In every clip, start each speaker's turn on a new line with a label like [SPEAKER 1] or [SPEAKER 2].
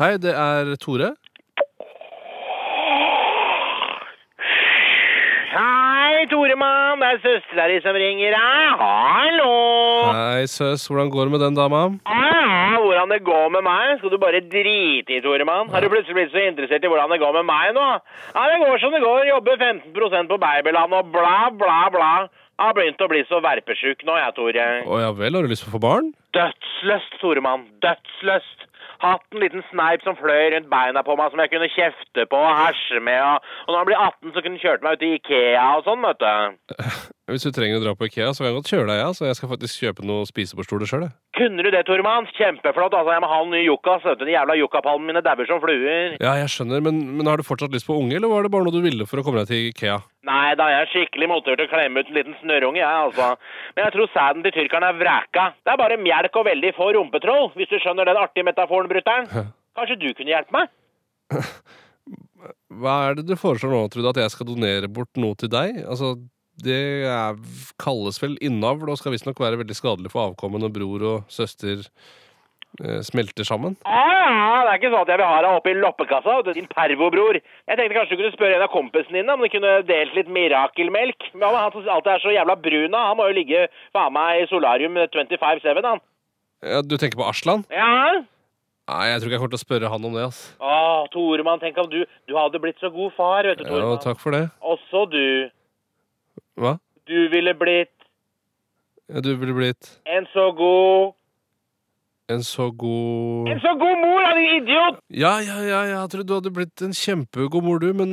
[SPEAKER 1] Hei, det er Tore.
[SPEAKER 2] Hei, Toremann. Det er søstera di som ringer. Hei, hallo.
[SPEAKER 1] Hei, søs. Hvordan går det med den dama?
[SPEAKER 2] Ah, hvordan det går med meg? Skal du bare drite i, Toremann? Har du plutselig blitt så interessert i hvordan det går med meg nå? Ja, det går som det går. Jobber 15 på babyland og bla, bla, bla. Jeg har begynt å bli så verpesjuk nå, jeg, Tore.
[SPEAKER 1] Å ja vel, har du lyst på å få barn?
[SPEAKER 2] Dødslyst, Toremann. Dødslyst. Hatt en liten sneip som fløy rundt beina på meg, som jeg kunne kjefte på og herse med. Og, og når han blir 18, så kunne han kjørt meg ut i Ikea og sånn, vet du.
[SPEAKER 1] Hvis du trenger å dra på Ikea, så kan jeg godt kjøre deg, ja. Så jeg skal faktisk kjøpe noen spisebordstoler sjøl, jeg.
[SPEAKER 2] Kunne du det, Toremann? Kjempeflott. Altså, jeg må ha en ny yuccas. vet du. De jævla yuccapalmene mine dauer som fluer.
[SPEAKER 1] Ja, jeg skjønner, men, men har du fortsatt lyst på unge, eller var det bare noe du ville for å komme deg til Ikea?
[SPEAKER 2] Nei da, jeg er skikkelig motivert til å klemme ut en liten snørrunge, jeg, altså. Men jeg tror sæden til tyrkerne er vraka. Det er bare melk og veldig få rumpetroll, hvis du skjønner den artige metaforen, brutter'n. Kanskje du kunne hjelpe meg?
[SPEAKER 1] Hva er det du foreslår nå, Trude, at jeg skal donere bort noe til deg? Altså, det er, kalles vel innavl, og skal visstnok være veldig skadelig for avkommet når bror og søster eh, smelter sammen.
[SPEAKER 2] Ah, det er ikke sånn at jeg vil ha deg oppe i loppekassa, vet du, din pervobror. Jeg tenkte kanskje du kunne spørre en av kompisene dine om de kunne delt litt mirakelmelk. Men han som alltid er så jævla brun, da, han må jo ligge faen meg i solarium 25-7, han.
[SPEAKER 1] Ja, du tenker på Aslan?
[SPEAKER 2] Ja?
[SPEAKER 1] Nei, jeg tror ikke jeg kommer til å spørre han om det, ass.
[SPEAKER 2] Å, Toremann, tenk om du Du hadde blitt så god far, vet du,
[SPEAKER 1] Ja,
[SPEAKER 2] Toremann.
[SPEAKER 1] takk for det.
[SPEAKER 2] Også du.
[SPEAKER 1] Hva?
[SPEAKER 2] Du ville blitt
[SPEAKER 1] Ja, du ville blitt
[SPEAKER 2] en så god
[SPEAKER 1] en så god
[SPEAKER 2] En så god mor, da, din idiot!
[SPEAKER 1] Ja, ja, ja, ja, jeg trodde du hadde blitt en kjempegod mor, du, men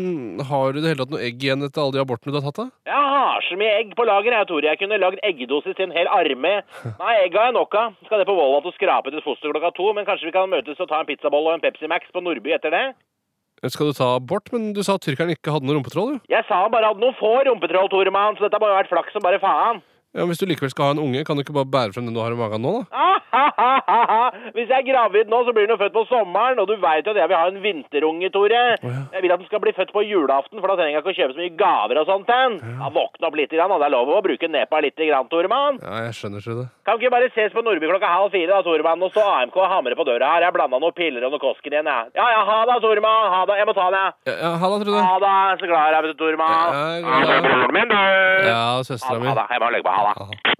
[SPEAKER 1] har du i det hele tatt noe egg igjen etter alle de abortene du har tatt, da?
[SPEAKER 2] Jeg har så mye egg på lager, jeg, Tore. Jeg kunne lagd eggedosis til en hel armé. Nei, egg har jeg nok av. Skal det på Volva til å skrape til foster klokka to, men kanskje vi kan møtes og ta en pizzabolle og en Pepsi Max på Nordby etter det?
[SPEAKER 1] Skal du ta abort? Men du sa at tyrkeren ikke hadde noe rumpetroll, jo.
[SPEAKER 2] Jeg sa han bare hadde noen få rumpetroll, Toremann, så dette må jo ha vært flaks som bare faen.
[SPEAKER 1] Ja, men Hvis du likevel skal ha en unge, kan du ikke bare bære frem den du har i magen nå, da?
[SPEAKER 2] Ah, ha, ha, ha, ha. Hvis jeg er gravid nå, så blir den jo født på sommeren, og du veit jo at jeg vil ha en vinterunge, Tore.
[SPEAKER 1] ja.
[SPEAKER 2] Jeg vil at den skal bli født på julaften, for da trenger jeg ikke å kjøpe så mye gaver og sånt. Den. Ja, våkne opp litt, grann, da. det er lov å bruke nepa litt, grann, Toremann.
[SPEAKER 1] Ja, jeg skjønner ikke det.
[SPEAKER 2] Kan vi ikke bare ses på Nordby klokka halv fire, da, Toremann? Nå står AMK og hamrer på døra her. Jeg blanda noen piller og noe kosken igjen, jeg. Ja ja, ha det, Toremann. Ha det. Jeg må ta det.
[SPEAKER 1] Ja, ja, ha det, Trude.
[SPEAKER 2] Ha det. Så glad jeg er, vet du, Toremann.
[SPEAKER 1] Ja, god dag.
[SPEAKER 2] Broren min, du.
[SPEAKER 1] Ja, søstera mi.
[SPEAKER 2] Ha det. Jeg må legge på. Ha det.
[SPEAKER 1] Aha.